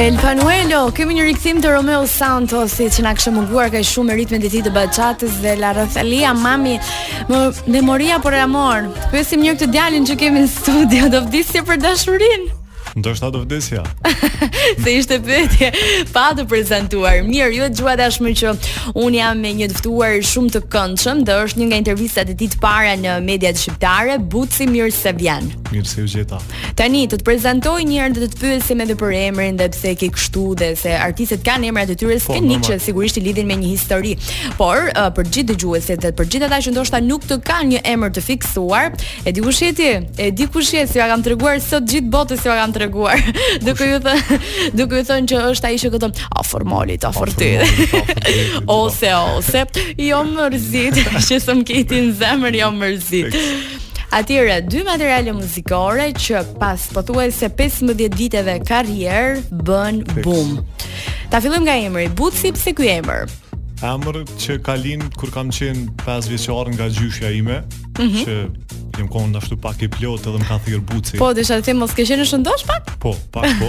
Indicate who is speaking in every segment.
Speaker 1: El Panuelo, kemi një rikthim të Romeo Santosi që na kishte munguar kaq shumë me ritmin e tij të bachatës dhe La Rosalia, mami, më memoria por el amor. Pyesim një këtë djalin që kemi në studio, do vdisje për dashurinë.
Speaker 2: Ndoshta do vdesja.
Speaker 1: se ishte pyetje pa të prezantuar. Mirë, ju e dëgjua tashmë që un jam me një të ftuar shumë të këndshëm dhe është një nga intervistat e tij të para në mediat shqiptare, Buci Mirë se vjen.
Speaker 2: Mirë se u gjeta.
Speaker 1: Tani të të prezantoj një herë dhe të të pyesim edhe për emrin dhe pse ke kështu dhe se artistët kanë emrat e tyre
Speaker 2: Po,
Speaker 1: skenik
Speaker 2: normal.
Speaker 1: që sigurisht i lidhin me një histori. Por ë, për gjithë dëgjuesit dhe për gjithë ata që ndoshta nuk të kanë një emër të fiksuar, e di kush je ti? E di kush je? Si ja kam treguar sot gjithë botës si ja kam treguar. duke ju thënë, duke ju thënë që është ai që këto afër malit, afër ty. Ose ose jo mërzit që s'm kiti në zemër jo mërzit. Atëherë, dy materiale muzikore që pas pothuajse 15 viteve karrierë bën
Speaker 2: Fiks.
Speaker 1: bum. Ta fillojmë nga emri. Buci pse ky emër?
Speaker 2: Emër që ka lind kur kam qenë 5 vjeçar nga gjyshja ime,
Speaker 1: Mhm.
Speaker 2: që jam konë ashtu pak i plot edhe më ka thirr buci.
Speaker 1: Po, desha të them mos ke qenë shëndosh pak?
Speaker 2: po, pak po.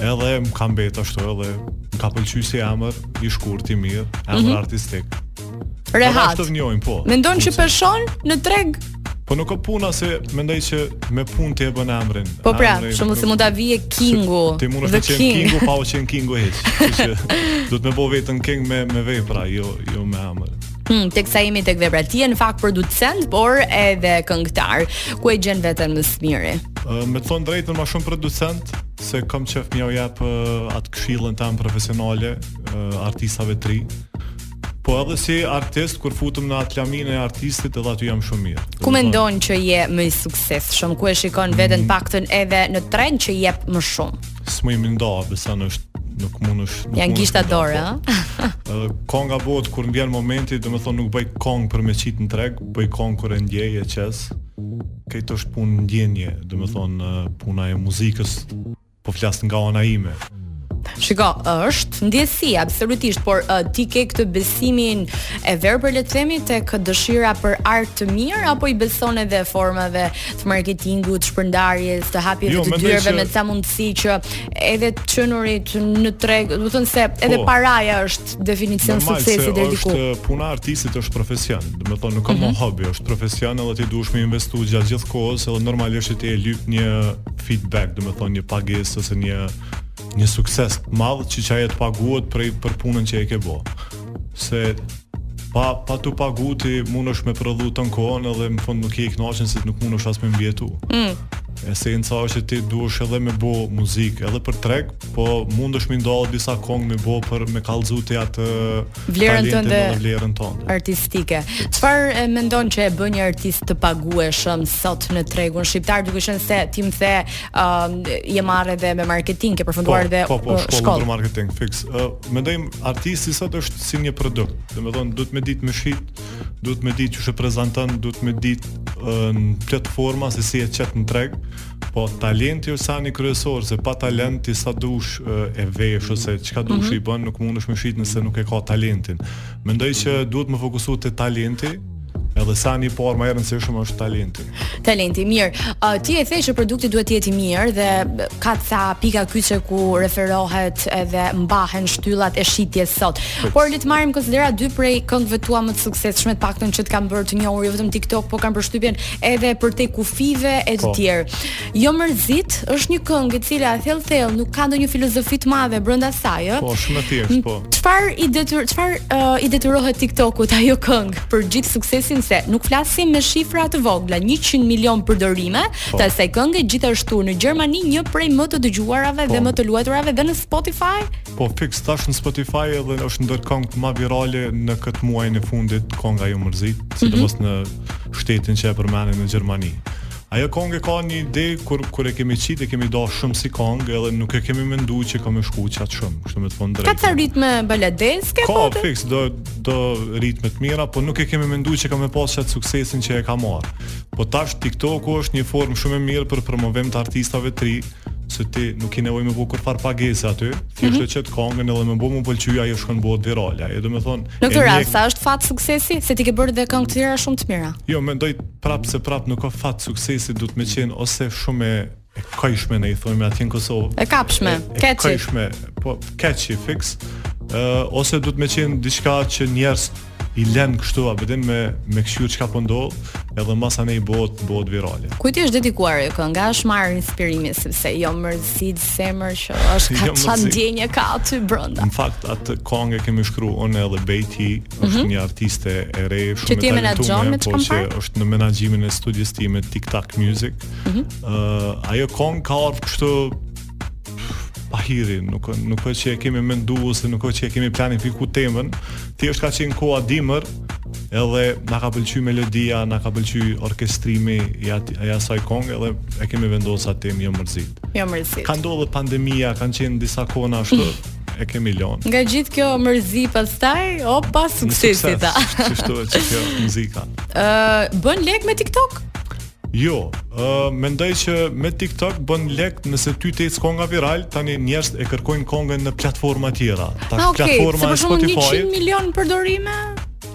Speaker 2: edhe më ka mbet ashtu edhe më ka pëlqyer si emër i shkurt i mirë, emër artistik. Ata
Speaker 1: Mhm. Rehat.
Speaker 2: ashtu vnjojnë, po.
Speaker 1: Mendon që
Speaker 2: Buci.
Speaker 1: peshon në treg?
Speaker 2: Po nuk ka puna se mendoj që me punë ti e bën emrin.
Speaker 1: Po pra,
Speaker 2: Emri
Speaker 1: shumë se
Speaker 2: nuk-
Speaker 1: mund ta vije Kingu.
Speaker 2: Ti mund
Speaker 1: The
Speaker 2: të qenë
Speaker 1: King.
Speaker 2: Kingu pa u qenë Kingu hiç. Kështu që do të më bëu vetëm King me me vepra, jo jo me emër.
Speaker 1: Hmm, tek sa jemi tek vepra. Ti je në fakt producent, por edhe këngëtar. Ku e gjen veten më së miri?
Speaker 2: Ë, Me të thonë drejtën ma shumë producent Se kam qef mja u jep ë, atë këshillën tam profesionale ë, Artistave të ri Po edhe si artist Kur futëm në atë lamin e artistit Edhe aty jam shumë mirë
Speaker 1: Ku mendon që je më i suksesshëm? Ku e shikon
Speaker 2: Mhm.
Speaker 1: veten paktën edhe në trend që jep më shumë?
Speaker 2: Së më i minda Besa në është nuk mund është nuk
Speaker 1: Janë
Speaker 2: mund
Speaker 1: gishta
Speaker 2: është minda,
Speaker 1: dorë,
Speaker 2: po.
Speaker 1: ëh.
Speaker 2: Ë, Konga bëhet kur mbjen momenti, do të thonë nuk bëj kong për me qit në treg, bëj kong kur e ndjej e qes. Këto është punë ndjenje, do të thonë ë, puna e muzikës, po flas nga ana ime.
Speaker 1: Shiko, është ndjesi absolutisht, por uh, ti ke këtë besimin e verbër le të themi tek dëshira për art të mirë apo i beson edhe formave të marketingut, të shpërndarjes, të hapjeve
Speaker 2: Jo,
Speaker 1: të
Speaker 2: mendoj
Speaker 1: dyrëve
Speaker 2: që-
Speaker 1: me sa mundësi që edhe të çënurit në treg, do të thonë se edhe
Speaker 2: Po.
Speaker 1: paraja është definicion
Speaker 2: Normal se
Speaker 1: suksesi deri diku. Mhm.
Speaker 2: është ë, puna e artistit është profesion. Do të thonë nuk ka më hobi, është profesion edhe ti duhesh me investu gjatë gjithë kohës, edhe normalisht që ti e lyp një feedback, do të thonë një pagesë ose një një sukses të madh që çaje të paguhet për për punën që e ke bë. Se pa pa tu pagu ti mundesh me prodhu të në kohën edhe në fund nuk je i kënaqur se nuk mundesh as me mbjetu. Mm. Esenca është që ti duhesh edhe me bo muzikë, edhe për treg, po mundesh me ndollë disa kongë me bo për me kallëzu ti atë
Speaker 1: Vlerën
Speaker 2: talentin
Speaker 1: tënde.
Speaker 2: edhe vlerën tënde.
Speaker 1: artistike. Çfarë e mendon që e bën një artist të pagueshëm sot në tregun shqiptar, duke qenë se ti më the, ëm je marrë edhe me marketing, ke përfunduar edhe
Speaker 2: po, po,
Speaker 1: ë,
Speaker 2: shkollë, për marketing fix. Uh, mendoj artisti sot është si një produkt. Domethënë duhet me ditë me shit, duhet me ditë çu prezanton, duhet me ditë uh, në platforma se si e çet në treg. Po talenti është sani kryesor, se pa talent ti sa dush uh, e vesh ose çka dush i bën, nuk mundesh me shit nëse nuk e ka talentin. Mendoj që duhet më fokusu te talenti, edhe sani i parë më e rëndësishëm është talenti.
Speaker 1: Talenti mirë. Ë, ti e the që produkti duhet të jetë i mirë dhe ka ca pika kyçe ku referohet edhe mbahen shtyllat e shitjes sot. Por le të marrim konsidera dy prej këngëve tua më të suksesshme, të paktën që të kanë bërë të njohur jo vetëm TikTok, por kanë përshtypjen edhe për te kufive e të
Speaker 2: Po.
Speaker 1: tjerë. Jo mërzit është një këngë e cila thellë thellë nuk ka ndonjë filozofi të madhe brenda saj, ë?
Speaker 2: Po, shumë e thjeshtë, po.
Speaker 1: Çfar i detyr çfar uh, i detyrohet TikTokut ajo këngë për gjithë suksesin se nuk flasim me shifra të vogla, 100 milion përdorime
Speaker 2: Po.
Speaker 1: të asaj këngë, gjithashtu në Gjermani një prej më të dëgjuarave dhe
Speaker 2: Po.
Speaker 1: më të luajturave dhe në Spotify.
Speaker 2: Po fix tash në Spotify edhe është ndër këngët më virale në këtë muajin e fundit kënga ju mërzit, sidomos në shtetin që e përmendën në Gjermani. Ajo këngë ka një ide kur kur e kemi qitë, e kemi dashur shumë si këngë edhe nuk e kemi menduar që ka më shku qatë shumë, kështu me të thënë
Speaker 1: Ka
Speaker 2: drejtë.
Speaker 1: ca ritme baladeske
Speaker 2: Ka
Speaker 1: po. të-
Speaker 2: fix do do ritme të mira, po nuk e kemi menduar që ka më pas qatë suksesin që e ka marrë. Po tash TikToku është një formë shumë e mirë për promovim të artistave të ri, se ti nuk i nevojë me bu kur far pagese aty, thjesht e çet këngën edhe më bu më pëlqy ajo shkon bëhet virale. Ajo do të thonë
Speaker 1: Në
Speaker 2: e
Speaker 1: këtë
Speaker 2: mjek-
Speaker 1: rast sa është fat suksesi se ti ke bërë dhe këngë të tjera shumë të mira.
Speaker 2: Jo, mendoj prap se prap nuk ka fat suksesi, duhet me qenë ose shumë e e kajshme ne i thojmë atje në Kosovë.
Speaker 1: E kapshme,
Speaker 2: e
Speaker 1: keqi.
Speaker 2: Kajshme, po keqi fix. Ë ose duhet me qenë diçka që njerëz i lënë kështu a vetëm me me këshiu çka po ndodh, edhe masa ne i bëhet bëhet virale.
Speaker 1: Kujt i është dedikuar ajo kënga? Është marrë inspirimi sepse jo mërzit zemër që është ka
Speaker 2: Jo
Speaker 1: çan
Speaker 2: mërzit.
Speaker 1: ndjenje ka aty brenda.
Speaker 2: Në fakt atë këngë e kemi shkruar unë edhe Bejti, është një artiste e re shumë
Speaker 1: Mhm. Që
Speaker 2: e
Speaker 1: ti e menaxhon me
Speaker 2: talentuar,
Speaker 1: çka
Speaker 2: po
Speaker 1: më
Speaker 2: që
Speaker 1: parë?
Speaker 2: është në menaxhimin e studios time Tik Tak Music. Ëh
Speaker 1: Mhm.
Speaker 2: ajo këngë ka ardhur kështu pa hiri, nuk nuk është që e kemi menduar ose nuk është që e kemi planifikuar temën. Thjesht ka qenë koha dimër, edhe na ka pëlqyer melodia, na ka pëlqyer orkestrimi i ati- i asaj këngë edhe e kemi vendosur atë temë jo mërzit.
Speaker 1: Jo mërzit.
Speaker 2: Ka ndodhur pandemia, kanë qenë disa kona ashtu,
Speaker 1: Mhm.
Speaker 2: e kemi lënë.
Speaker 1: Nga gjithë kjo mërzi pastaj, opa
Speaker 2: Në
Speaker 1: suksesi ta.
Speaker 2: Kështu është që kjo muzika.
Speaker 1: Ë bën lek me TikTok?
Speaker 2: Jo, ë mendoj që me TikTok bën lek nëse ty të ecë konga viral, tani njerëz e kërkojnë kongën në platforma tjera. Ta
Speaker 1: Ah, okay, se për
Speaker 2: platforma e
Speaker 1: shembull 100
Speaker 2: Spotify.
Speaker 1: milion përdorime.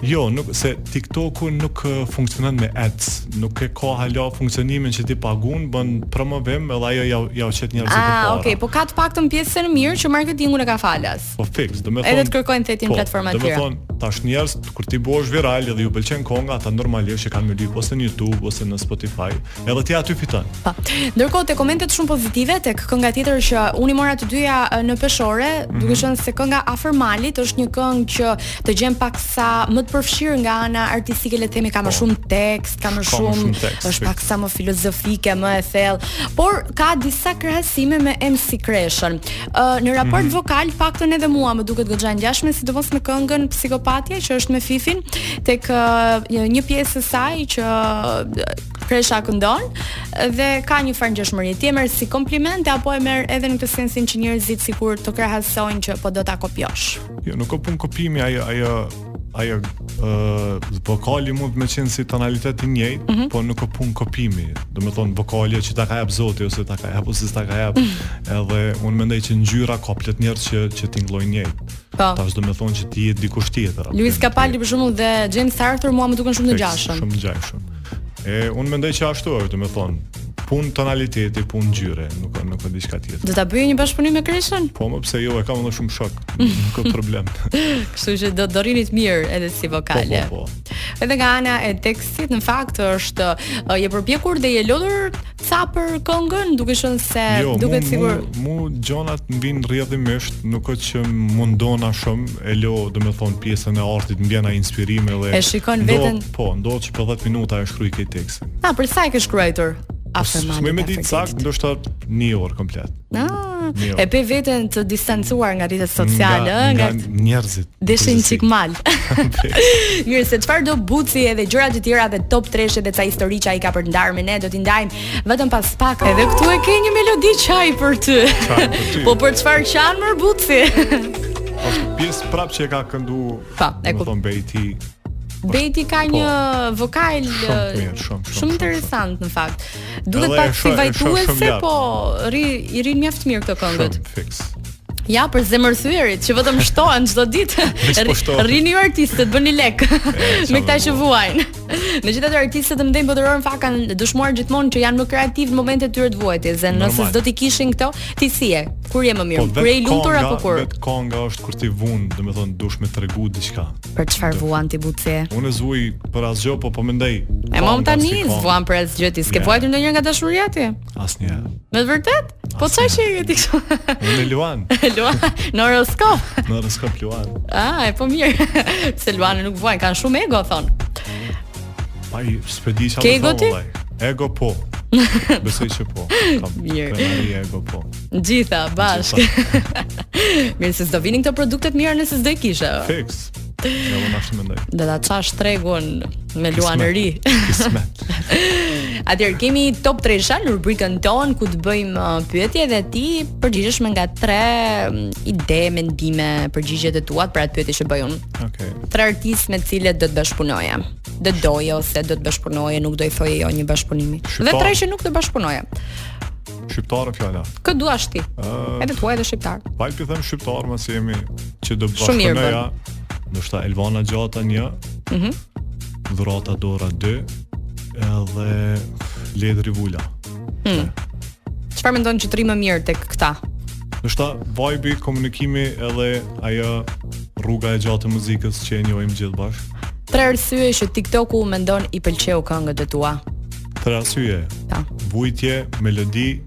Speaker 2: Jo, nuk se TikToku nuk ë, funksionon me ads, nuk e ka hala funksionimin që ti pagun, bën promovim edhe ajo ja ja u çet njerëzit të
Speaker 1: Ah,
Speaker 2: para.
Speaker 1: okay, po ka të paktën pjesën mirë që marketingun e ka falas.
Speaker 2: Po fix, do me thonë.
Speaker 1: Edhe të kërkojnë thetin platforma
Speaker 2: do me
Speaker 1: tjera.
Speaker 2: thonë, tash njerëz kur ti bëhesh viral edhe ju pëlqen konga, ata normalisht që kanë me lyp ose në YouTube ose në Spotify, edhe ti aty fiton.
Speaker 1: Pa. Ndërkohë te komentet shumë pozitive tek kënga tjetër që unë i mora të dyja e, në peshore,
Speaker 2: Mhm.
Speaker 1: duke qenë se kënga Afër Malit është një këngë që të gjen pak sa më të përfshirë nga ana artistike le të themi ka më
Speaker 2: Po.
Speaker 1: shumë tekst, ka më
Speaker 2: Ka më
Speaker 1: shumë,
Speaker 2: shumë tekst,
Speaker 1: është
Speaker 2: fix.
Speaker 1: pak sa më filozofike, më e thellë, por ka disa krahasime me MC Kreshën. Ë në raport vokal paktën edhe mua më duket goxha ngjashme, sidomos me këngën Psikopatje që është me Fifin tek ë, një- një pjesë e saj që Kresha këndon dhe ka një farë ngjashmërie. Ti e merr si kompliment apo e merr edhe në këtë sensin që njerëzit sikur të krahasojnë që po do ta kopjosh.
Speaker 2: Jo, nuk ka pun kopimi ajo ajo ajo ë vokali mund të më qenë si tonalitet i njëjtë,
Speaker 1: Mhm.
Speaker 2: po nuk ka pun kopimi. Do me thonë vokalja që ta ka jap Zoti ose ta ka jap ose s'ta ka jap.
Speaker 1: Mhm.
Speaker 2: Edhe unë mendoj që ngjyra ka plot njerëz që që tingëllojnë njëjtë.
Speaker 1: Po.
Speaker 2: Tash do me thonë që ti je dikush tjetër. apo jo,
Speaker 1: Luis
Speaker 2: je-
Speaker 1: Capaldi për shembull dhe James Arthur mua më duken shumë të
Speaker 2: Fix,
Speaker 1: ngjashëm.
Speaker 2: Shumë ngjashëm. E unë mendoj që ashtu është, do të thonë, punë tonaliteti, punë ngjyre, nuk nuk ka diçka tjetër.
Speaker 1: Do ta bëjë një bashkëpunim me Kreshën?
Speaker 2: Po më pse jo, e kam edhe shumë shok, nuk ka problem.
Speaker 1: Kështu që do do rinit mirë edhe si
Speaker 2: Po po
Speaker 1: vokale.
Speaker 2: po.
Speaker 1: Edhe nga ana e tekstit në fakt është ë, je përpjekur dhe je lodhur sa për këngën, duke qenë se
Speaker 2: Jo,
Speaker 1: duket
Speaker 2: mu,
Speaker 1: sigur
Speaker 2: mu, mu gjonat më vinë rrjedhimisht, nuk është që mundona shumë, e lo, do të thonë pjesën e artit më vjen ai inspirim edhe
Speaker 1: E shikon
Speaker 2: ndo-
Speaker 1: veten-
Speaker 2: Po, ndohet që për 10 minuta e shkruaj këtë tekstin.
Speaker 1: Na, për sa e ke shkruar? Afër
Speaker 2: S-
Speaker 1: malit.
Speaker 2: s'më me
Speaker 1: afër
Speaker 2: ditë sakt,
Speaker 1: detit.
Speaker 2: ndoshta një orë komplet.
Speaker 1: Ah,
Speaker 2: Jo.
Speaker 1: e pe veten të distancuar nga rrjetet sociale, ë, nga, nga
Speaker 2: njerëzit.
Speaker 1: deshin
Speaker 2: përgjithsisht.
Speaker 1: çik mal. Mirë, se çfarë do buci edhe gjëra të tjera dhe top 3 dhe ca histori që ai ka për të ndarë me ne, do t'i ndajmë vetëm pas pak. Edhe këtu e ke një melodi çaj për ty.
Speaker 2: Çaj për ty.
Speaker 1: po për çfarë qan më buci?
Speaker 2: është pjesë prapë që e ka këndu
Speaker 1: Pa, e
Speaker 2: do
Speaker 1: kup-
Speaker 2: të thon Bejti
Speaker 1: Beti ka një vokal
Speaker 2: Po. Shumë
Speaker 1: eh,
Speaker 2: të mirë, shumë, shumë,
Speaker 1: shumë
Speaker 2: shumë,
Speaker 1: interesant në fakt. Duket
Speaker 2: Edhe e
Speaker 1: pak si
Speaker 2: shoh- e shoh shumë
Speaker 1: vajtuese,
Speaker 2: lart.
Speaker 1: po ri i rin mjaft mirë këto këngët.
Speaker 2: shumë fix.
Speaker 1: Ja, për zemërthyerit, që vetëm shtohen çdo ditë.
Speaker 2: Veç po
Speaker 1: Rri-
Speaker 2: shtohen.
Speaker 1: Rrini ju artistët, bëni lek. me këta që vuajnë. Megjithatë artistët e mëdhenj botëror në fakt kanë dëshmuar gjithmonë që janë më kreativ në momentet e tyre të vuajtjes, dhe nëse
Speaker 2: Normal.
Speaker 1: s'do t'i kishin këto, ti si je? Kur je më mirë? kur je i lumtur apo kur?
Speaker 2: Vet Po, konga është kur ti vun, do të thon dush me tregu diçka.
Speaker 1: Për çfarë vuan ti buce?
Speaker 2: Unë e zuj për asgjë, po po mendoj.
Speaker 1: E mom tani vuan për asgjë ti. S'ke
Speaker 2: Ja.
Speaker 1: vuajtur ndonjë nga dashuria ti?
Speaker 2: Asnjëherë.
Speaker 1: Me të vërtet? Po çfarë që je ti kështu?
Speaker 2: Unë e luan,
Speaker 1: Luan, në horoskop.
Speaker 2: në horoskop luan.
Speaker 1: Ah, e po mirë. Se Luani nuk vuajnë, kanë shumë ego thon.
Speaker 2: Pa i spedi çfarë.
Speaker 1: Ke
Speaker 2: me
Speaker 1: ego
Speaker 2: thonë,
Speaker 1: ti?
Speaker 2: vallaj. Ego po. Besoj që po. Kam
Speaker 1: Mirë.
Speaker 2: prenari ego po.
Speaker 1: Gjitha bashk. Mirë se s'do vinin këto produktet mira nëse s'do i kishe.
Speaker 2: Fix. Ja unë ashtu mendoj.
Speaker 1: Do ta çash tregun me luanëri.
Speaker 2: Kismet.
Speaker 1: Atëherë kemi top 3-sha në rubrikën tonë ku të bëjmë uh, pyetje dhe ti përgjigjesh me nga 3 ide, mendime, përgjigjet e tua për atë pyetje që bëj unë.
Speaker 2: Okej.
Speaker 1: Tre artistë me të cilët do të bashkëpunoje. Do doje ose do të bashkëpunoje, nuk do i thoje jo një bashkëpunimi.
Speaker 2: Shqiptar.
Speaker 1: Dhe tre që nuk do bashkëpunoje.
Speaker 2: Shqiptarë fjala.
Speaker 1: Kë duash ti?
Speaker 2: Ë,
Speaker 1: Edhe tuaj edhe shqiptar.
Speaker 2: Valpi them shqiptar, mos jemi që do
Speaker 1: Shumë mirë
Speaker 2: bashkënoja. Ndoshta Elvana Gjata 1. Mhm. Dhurata Dora 2 edhe Ledri Vula.
Speaker 1: çfarë mendon që trim më mirë tek këta?
Speaker 2: Nështë vibe, komunikimi edhe ajo rruga e gjatë e muzikës që e njohim gjithë bashkë.
Speaker 1: Tre arsye që TikToku mendon i pëlqeu këngët e tua.
Speaker 2: Tre arsye,
Speaker 1: Ta.
Speaker 2: vujtje, melodi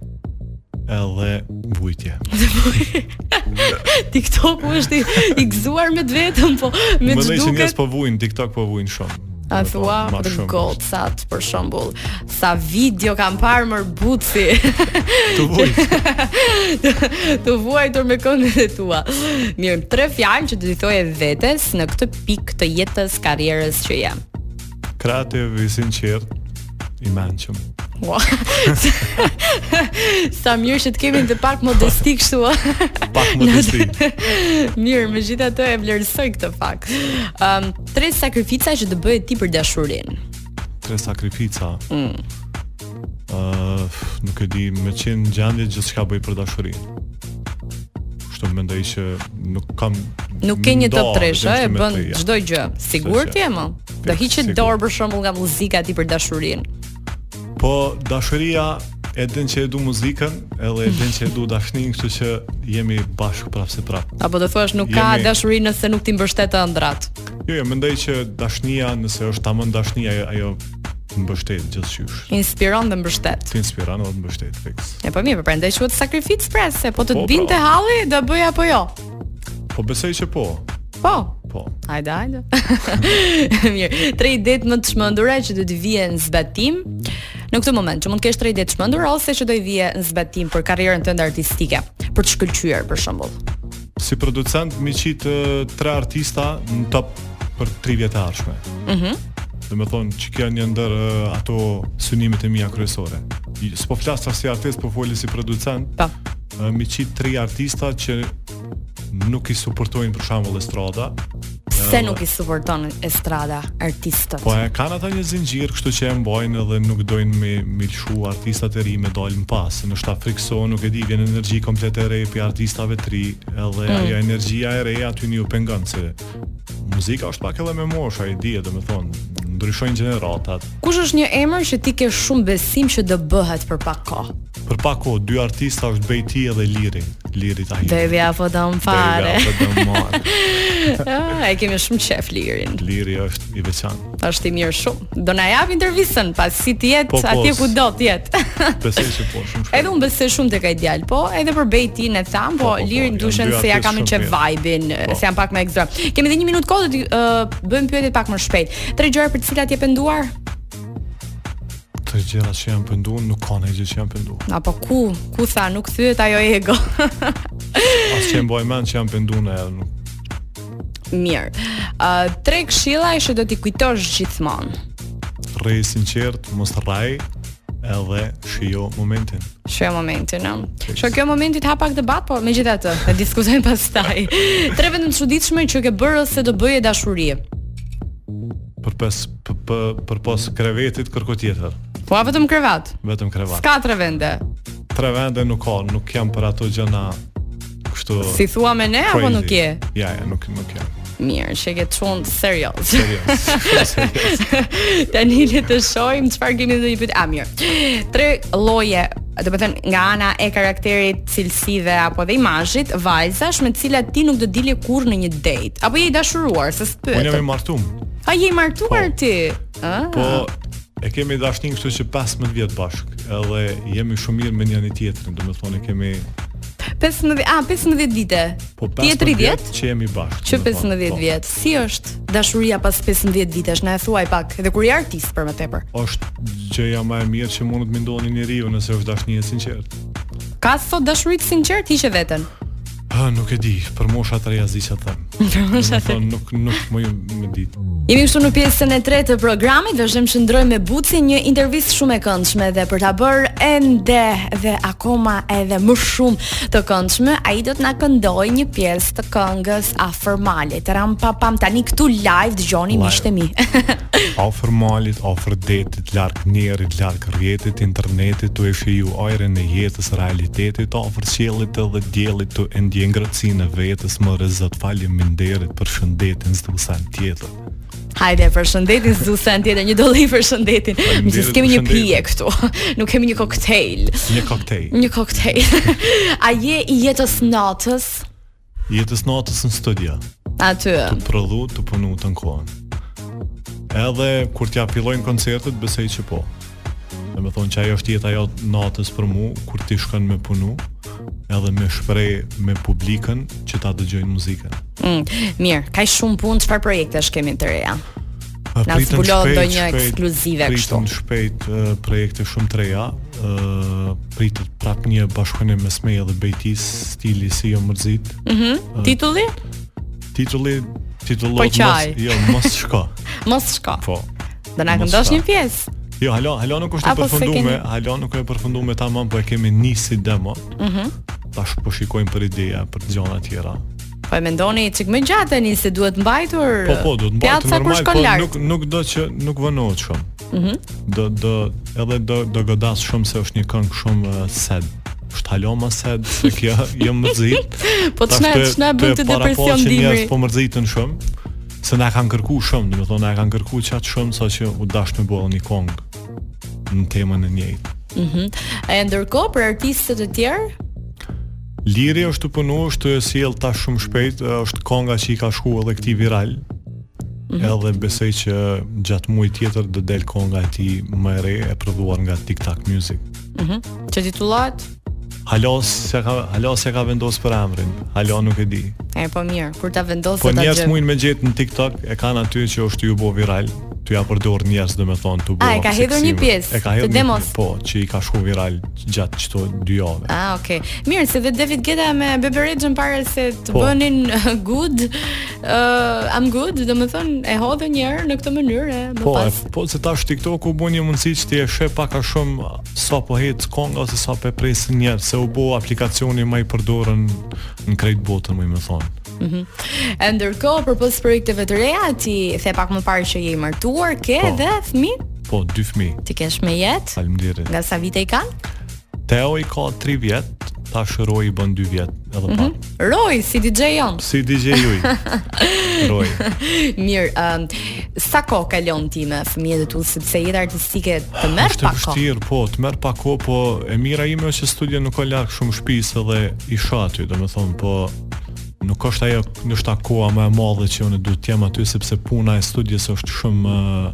Speaker 2: edhe vujtje.
Speaker 1: TikToku është i, i gëzuar me vetëm, po me
Speaker 2: Më
Speaker 1: të
Speaker 2: që njerëz
Speaker 1: duket
Speaker 2: po vujnë, TikTok po vujnë shumë.
Speaker 1: A
Speaker 2: Më
Speaker 1: thua
Speaker 2: thonë, ma
Speaker 1: për
Speaker 2: shumë.
Speaker 1: gocat për shembull, sa video kam parë mër buci
Speaker 2: Të vujt.
Speaker 1: të vuajtur me këngët e tua. Mirë, tre fjalë që do t'i thoje vetes në këtë pikë të jetës, karrierës që jam.
Speaker 2: Kreativ, i sinqert, i mençëm.
Speaker 1: Wow. Sa mirë që të kemi të pak modesti kështu. ë.
Speaker 2: Pak më Po të stin.
Speaker 1: mirë, megjithatë e vlerësoj këtë fakt. Ëm tre sakrifica që të bëhet ti për dashurinë.
Speaker 2: Tre sakrifica. Mm. nuk e di, me qenë në gjendje gjithçka bëj për dashurinë. Kështu mendoj që nuk kam
Speaker 1: Nuk ke një
Speaker 2: nda
Speaker 1: top 3, ë, e
Speaker 2: vetëm që me
Speaker 1: bën
Speaker 2: tre, ja.
Speaker 1: çdo gjë. Sigurt
Speaker 2: Sigurisht.
Speaker 1: je më. Do
Speaker 2: Fix,
Speaker 1: hiqet
Speaker 2: sigur.
Speaker 1: dorë për shembull nga muzika ti për dashurinë.
Speaker 2: Po dashuria e din që e du muzikën, edhe e din që e du dashnin, kështu që jemi bashkë prapë se prapë.
Speaker 1: Apo do thuash nuk ka
Speaker 2: Jemi-
Speaker 1: dashuri nëse nuk ti mbështet ëndrat.
Speaker 2: Jo, jo, mendoj që dashnia, nëse është tamam dashnia, ajo, ajo mbështet gjithçysh.
Speaker 1: Inspiron dhe mbështet.
Speaker 2: Të inspiron edhe të mbështet fiks.
Speaker 1: E po mirë, po prandaj quhet sakrifik pres, se po të të
Speaker 2: Po, po.
Speaker 1: binte halli, do bëj apo jo.
Speaker 2: Po besoj që po.
Speaker 1: Po,
Speaker 2: Po.
Speaker 1: Hajde, hajde. Mirë, tre idetë më të shmendura që do të vijë në zbatim në këtë moment, që mund të kesh tre ide të shmendura ose që do i vijë në zbatim për karrierën tënde artistike, për të shkëlqyer për shembull.
Speaker 2: Si producent mi qit e, tre artista në top për 3 vjet e ardhshme. Mhm. Dhe me thonë që kja një ndër e, ato synimet e mija kryesore. I- S'po flas tash si artist, po foli si producent.
Speaker 1: Po.
Speaker 2: E, Mi qit tre artista që nuk i suportojnë për shembull Estrada,
Speaker 1: Pse nuk i suporton estrada artistët?
Speaker 2: po e kanë ata një zinxhir, kështu që e mbajnë edhe nuk dojnë me me lshu artistat e ri me dalë në pas. Në shtat frikson, nuk e di, vjen energji komplet e re për artistave të ri, edhe ajo energjia e re aty një u pengon se muzika është pak edhe me moshë, ai di, domethënë, ndryshojnë gjeneratat.
Speaker 1: Kush është një emër që ti ke shumë besim që do bëhet për pak kohë?
Speaker 2: Për pak kohë dy artista është Bejti edhe Liri, Liri Tahiri.
Speaker 1: Baby apo do më fare.
Speaker 2: Baby, apo do marr. po-
Speaker 1: Ah, e kemi shumë qef lirin.
Speaker 2: Liri është i veçantë.
Speaker 1: Është i mirë shumë. Do na jap intervistën pas si ti jet
Speaker 2: Po, po,
Speaker 1: atje
Speaker 2: s-
Speaker 1: ku do të jetë.
Speaker 2: Besoj që po shumë
Speaker 1: Edhe
Speaker 2: shpejt.
Speaker 1: unë besoj shumë tek ai djalë, po edhe për Bejtin e tham, po,
Speaker 2: Po, po, po,
Speaker 1: lirin
Speaker 2: janë
Speaker 1: dyshen
Speaker 2: dy
Speaker 1: se ja
Speaker 2: artistë
Speaker 1: kam në çe
Speaker 2: shumë mirë.
Speaker 1: vibe-in,
Speaker 2: Po.
Speaker 1: se jam pak më ekstra. Kemi edhe një minutë kohë të uh, bëjmë pyetjet pak më shpejt. Tre gjëra për të cilat je penduar
Speaker 2: Të gjëra që janë penduar nuk ka ndonjë gjë që janë penduar.
Speaker 1: apo ku ku tha nuk thyet ajo ego.
Speaker 2: As që e mbaj mend që jam pendu në erë, nuk
Speaker 1: Mirë. Uh, tre këshilla që do t'i kujtosh gjithmonë.
Speaker 2: rrej sinqert, mos rrej, edhe shijo momentin.
Speaker 1: Shë momentin, no? Shë kjo momentit ha pak debat, po me gjitha të, e diskutojmë pastaj. Tre vendën të çuditshme që ke bërë ose do bëje dashuri.
Speaker 2: Për pes, për, për, për pos krevetit kërko tjetër,
Speaker 1: Po a vetëm krevat?
Speaker 2: vetëm krevat.
Speaker 1: S'ka tre vende.
Speaker 2: Tre vende nuk ka, nuk jam për ato gjëna kështu...
Speaker 1: Si thua me ne, apo
Speaker 2: crazy.
Speaker 1: nuk je?
Speaker 2: Ja, ja, nuk, nuk jam.
Speaker 1: Mirë, që ke çunë serioz.
Speaker 2: Serios. serios.
Speaker 1: Tani le të shohim çfarë kemi dhe një pyetje. A mirë. Tre lloje, do të thënë nga ana e karakterit, cilësive apo dhe imazhit, vajzash me të cilat ti nuk do dilje kurrë në një date. Apo je i dashuruar, se
Speaker 2: Unë jam i
Speaker 1: s'pyet.
Speaker 2: martum,
Speaker 1: A je i martuar
Speaker 2: Po.
Speaker 1: ti? Ëh.
Speaker 2: po e kemi dashnin kështu që 15 vjet bashk, edhe jemi shumë mirë me njëri tjetrin, domethënë e kemi
Speaker 1: 15, a 15 vite.
Speaker 2: po
Speaker 1: ti je
Speaker 2: 15
Speaker 1: 30?
Speaker 2: që jemi bashk.
Speaker 1: Që
Speaker 2: domethënë,
Speaker 1: 15
Speaker 2: po.
Speaker 1: vjet. Si është dashuria pas 15 vitesh? Na e thuaj pak, edhe kur je artist për më tepër.
Speaker 2: është gjëja më e mirë që mund të më ndodhë një njeriu nëse është dashni e sinqertë.
Speaker 1: Ka sot dashuri të sinqert hiqe veten.
Speaker 2: Ha, nuk e di, për mosha të reja zi që thëmë. Për mosha të Nuk, nuk më ju me ditë.
Speaker 1: Jemi këtu në pjesën e tretë të programit, vazhdim që ndrojmë me Buci një intervistë shumë e këndshme dhe për ta bërë ende dhe akoma edhe më shumë të këndshme, ai do të na këndojë një pjesë të këngës afërmale. Tram pa pam tani këtu live dëgjoni miqtë e
Speaker 2: Live.
Speaker 1: mi.
Speaker 2: Afër malit, afër detit, larg njerit, larg rrjetit, internetit, tu e shiju ajrin e jetës, realitetit, afër qiellit edhe diellit, tu e ndjen ndjen ngrohtësinë e vetës, more zot faleminderit për shëndetin zdusan tjetër.
Speaker 1: Hajde, përshëndetin Zusan tjetër, një dolli përshëndetin. Më
Speaker 2: Faleminderit,
Speaker 1: kemi një
Speaker 2: përshëndetin.
Speaker 1: pije këtu. Nuk kemi një koktejl.
Speaker 2: Një koktejl.
Speaker 1: Një koktejl. A je i jetës natës?
Speaker 2: Jetës natës në studio.
Speaker 1: Aty.
Speaker 2: prodhu të punu të në kohën. Edhe kur t'ja fillojnë koncertet, besej që po. Dhe me thonë që ajo është jeta jotë natës për mu, kur t'i shkën me punu, edhe me shprej me publikën që ta dëgjojnë muzikën.
Speaker 1: Mm, mirë, ka shumë punë, çfarë projektesh kemi të reja?
Speaker 2: A,
Speaker 1: Na
Speaker 2: pritën
Speaker 1: zbulo
Speaker 2: shpejt,
Speaker 1: ndonjë
Speaker 2: shpejt,
Speaker 1: ekskluzive
Speaker 2: pritën shpejt e, projekte shumë të reja, ë pritet prap një bashkëpunim mes meje dhe Bejtis, stili si jo mërzit.
Speaker 1: Titulli?
Speaker 2: Titulli titullohet
Speaker 1: Mm. Po qaj.
Speaker 2: mos, jo, mos shko.
Speaker 1: Mos shko.
Speaker 2: Po.
Speaker 1: Do na
Speaker 2: mos
Speaker 1: këndosh
Speaker 2: shko.
Speaker 1: një pjesë.
Speaker 2: Jo, hala, hala nuk është e
Speaker 1: Apo se
Speaker 2: përfundume,
Speaker 1: keni-
Speaker 2: hala nuk e përfundume tamam, po e kemi nisi demo. Mhm. Tash po shikojmë për ideja, për gjëra tjera.
Speaker 1: Po e mendoni çik më gjatë tani se duhet mbajtur.
Speaker 2: Po po, do të mbahet
Speaker 1: pjaca kur
Speaker 2: normal,
Speaker 1: shkon
Speaker 2: po
Speaker 1: lart.
Speaker 2: nuk nuk do që nuk vënohet shumë. Mhm. do do edhe do do godas shumë se është një këngë shumë uh, sad. Është hala më sad se kjo jo jam mërzit.
Speaker 1: Po ç'na ç'na bën të depresion dimri.
Speaker 2: Njerëz po mërziten shumë se na kanë kërku shumë, do të thonë na kanë kërku çat shumë sa që u dash me bëllë një këngë në temën e njëjtë.
Speaker 1: E ndërkohë për artistët e tjerë,
Speaker 2: Liri është të punu, është të sjell tash shumë shpejt, është konga që i ka shku edhe këtij viral.
Speaker 1: Mhm.
Speaker 2: Edhe besoj që gjatë muajit tjetër do del konga e tij më e re e prodhuar nga TikTok Music.
Speaker 1: që titullohet
Speaker 2: Halos se ka halos se ka vendosur për emrin. Hala nuk e di.
Speaker 1: E po mirë, kur ta vendosë
Speaker 2: Po
Speaker 1: ta
Speaker 2: njerëz
Speaker 1: gjë.
Speaker 2: mund me gjetë në TikTok e kanë aty që është ju bo viral. Ty ja përdor njerëz domethënë tu bo.
Speaker 1: A, e ka hedhur një
Speaker 2: seksive.
Speaker 1: pjesë
Speaker 2: E ka
Speaker 1: të
Speaker 2: hedhur një
Speaker 1: demos?
Speaker 2: pjesë, po, që i ka shku viral gjatë çto dy javë.
Speaker 1: Ah, okay. Mirë, se dhe David Guetta me Bebe Rexhën para se të
Speaker 2: Po.
Speaker 1: bënin good, uh, I'm good, domethënë e hodhën një herë në këtë mënyrë, e, më
Speaker 2: Po, e,
Speaker 1: pas.
Speaker 2: po se tash TikToku bën një mundësi që ti e sheh pak a shumë sa po hec konga ose sa po e presin njerëz, se u bë aplikacioni më i përdorën në krejt botën, më i më thon.
Speaker 1: E ndërkohë përpos projekteve të reja, ti the pak më parë që je i martuar, ke
Speaker 2: Po.
Speaker 1: dhe fëmijë,
Speaker 2: Po, dy fëmijë.
Speaker 1: ti kesh me jetë.
Speaker 2: Faleminderit.
Speaker 1: Nga sa vite i kanë?
Speaker 2: Teo i ka 3 vjet, tash Roi i bën 2 vjet, edhe pak.
Speaker 1: Roj, si DJ jon.
Speaker 2: Si DJ Juj. Roi.
Speaker 1: Mirë, um, sa kohë kalon ti me fëmijët e tu sepse jeta artistike të merr
Speaker 2: Ah, Është e
Speaker 1: pak kohë.
Speaker 2: vështirë, po, të merr pa kohë, po e mira ime është që studia nuk ka larg shumë shtëpisë edhe isha aty, domethënë, po nuk është ajo ndoshta koha më e madhe që unë duhet të jem aty sepse puna e studios është shumë ë,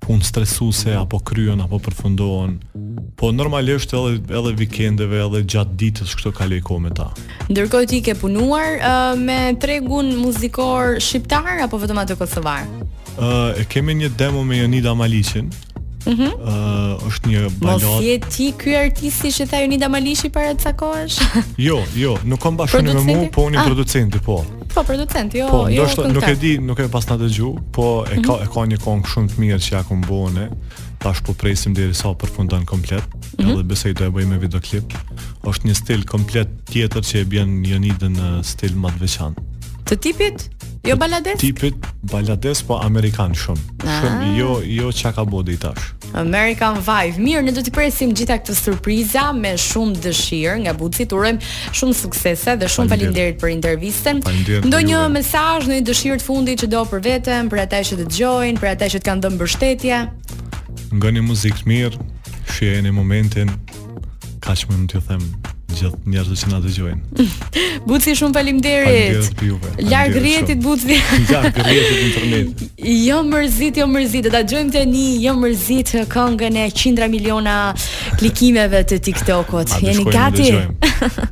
Speaker 2: punë stresuese apo kryen apo përfundohen. Po normalisht edhe edhe vikendeve edhe gjatë ditës kështu kaloj kohë me ta.
Speaker 1: Ndërkohë ti ke punuar uh, me tregun muzikor shqiptar apo vetëm atë kosovar?
Speaker 2: Ë Eh, e kemi një demo me Jonida Maliqin. Mhm. është një
Speaker 1: Mos
Speaker 2: balad.
Speaker 1: je ti ky artisti që tha Jonida Malishi para ca kohësh?
Speaker 2: Jo, jo, nuk kam bashkëpunim me
Speaker 1: Producenti?
Speaker 2: mua, po unë jam
Speaker 1: Ah.
Speaker 2: producenti, po.
Speaker 1: po, producent, jo,
Speaker 2: Po,
Speaker 1: jo.
Speaker 2: ndoshta nuk e
Speaker 1: këngëtar.
Speaker 2: di, nuk e pas na dëgju, po e ka e ka një këngë shumë të mirë që ja ku bëhone. Tash po presim derisa përfundon komplet,
Speaker 1: Mhm.
Speaker 2: edhe besoj do e bëj me videoklip. Është një stil komplet tjetër që e bën Jonidën në stil më të veçantë.
Speaker 1: Të tipit? Jo balades?
Speaker 2: Tipit balades po amerikan shumë. Shumë
Speaker 1: Ah.
Speaker 2: jo jo çka ka bëu deri tash.
Speaker 1: American Vibe. Mirë, ne do t'i presim gjitha këto surpriza me shumë dëshirë nga Bucit. Urojmë shumë suksese dhe shumë faleminderit
Speaker 2: Faleminderit.
Speaker 1: për intervistën.
Speaker 2: Faleminderit
Speaker 1: Ndonjë
Speaker 2: juve.
Speaker 1: mesazh, ndonjë dëshirë të fundit që do për veten, për ata që dëgjojnë, për ata që të kanë dhënë mbështetje.
Speaker 2: Ngoni muzikë të mirë, shijeni momentin. Kaq më të them gjithë njerëzit që na dëgjojnë.
Speaker 1: Buci, shumë faleminderit.
Speaker 2: Faleminderit për juve.
Speaker 1: Larg
Speaker 2: Faleminderit
Speaker 1: rrjetit
Speaker 2: shumë.
Speaker 1: Buci.
Speaker 2: Ja, gërrjetit internet.
Speaker 1: Jo mërzit, jo mërzit, do ta dëgjojmë tani, jo mërzit këngën e qindra miliona klikimeve të TikTokut.
Speaker 2: A do
Speaker 1: Jeni
Speaker 2: shkojmë, do
Speaker 1: gati?
Speaker 2: dëgjojmë?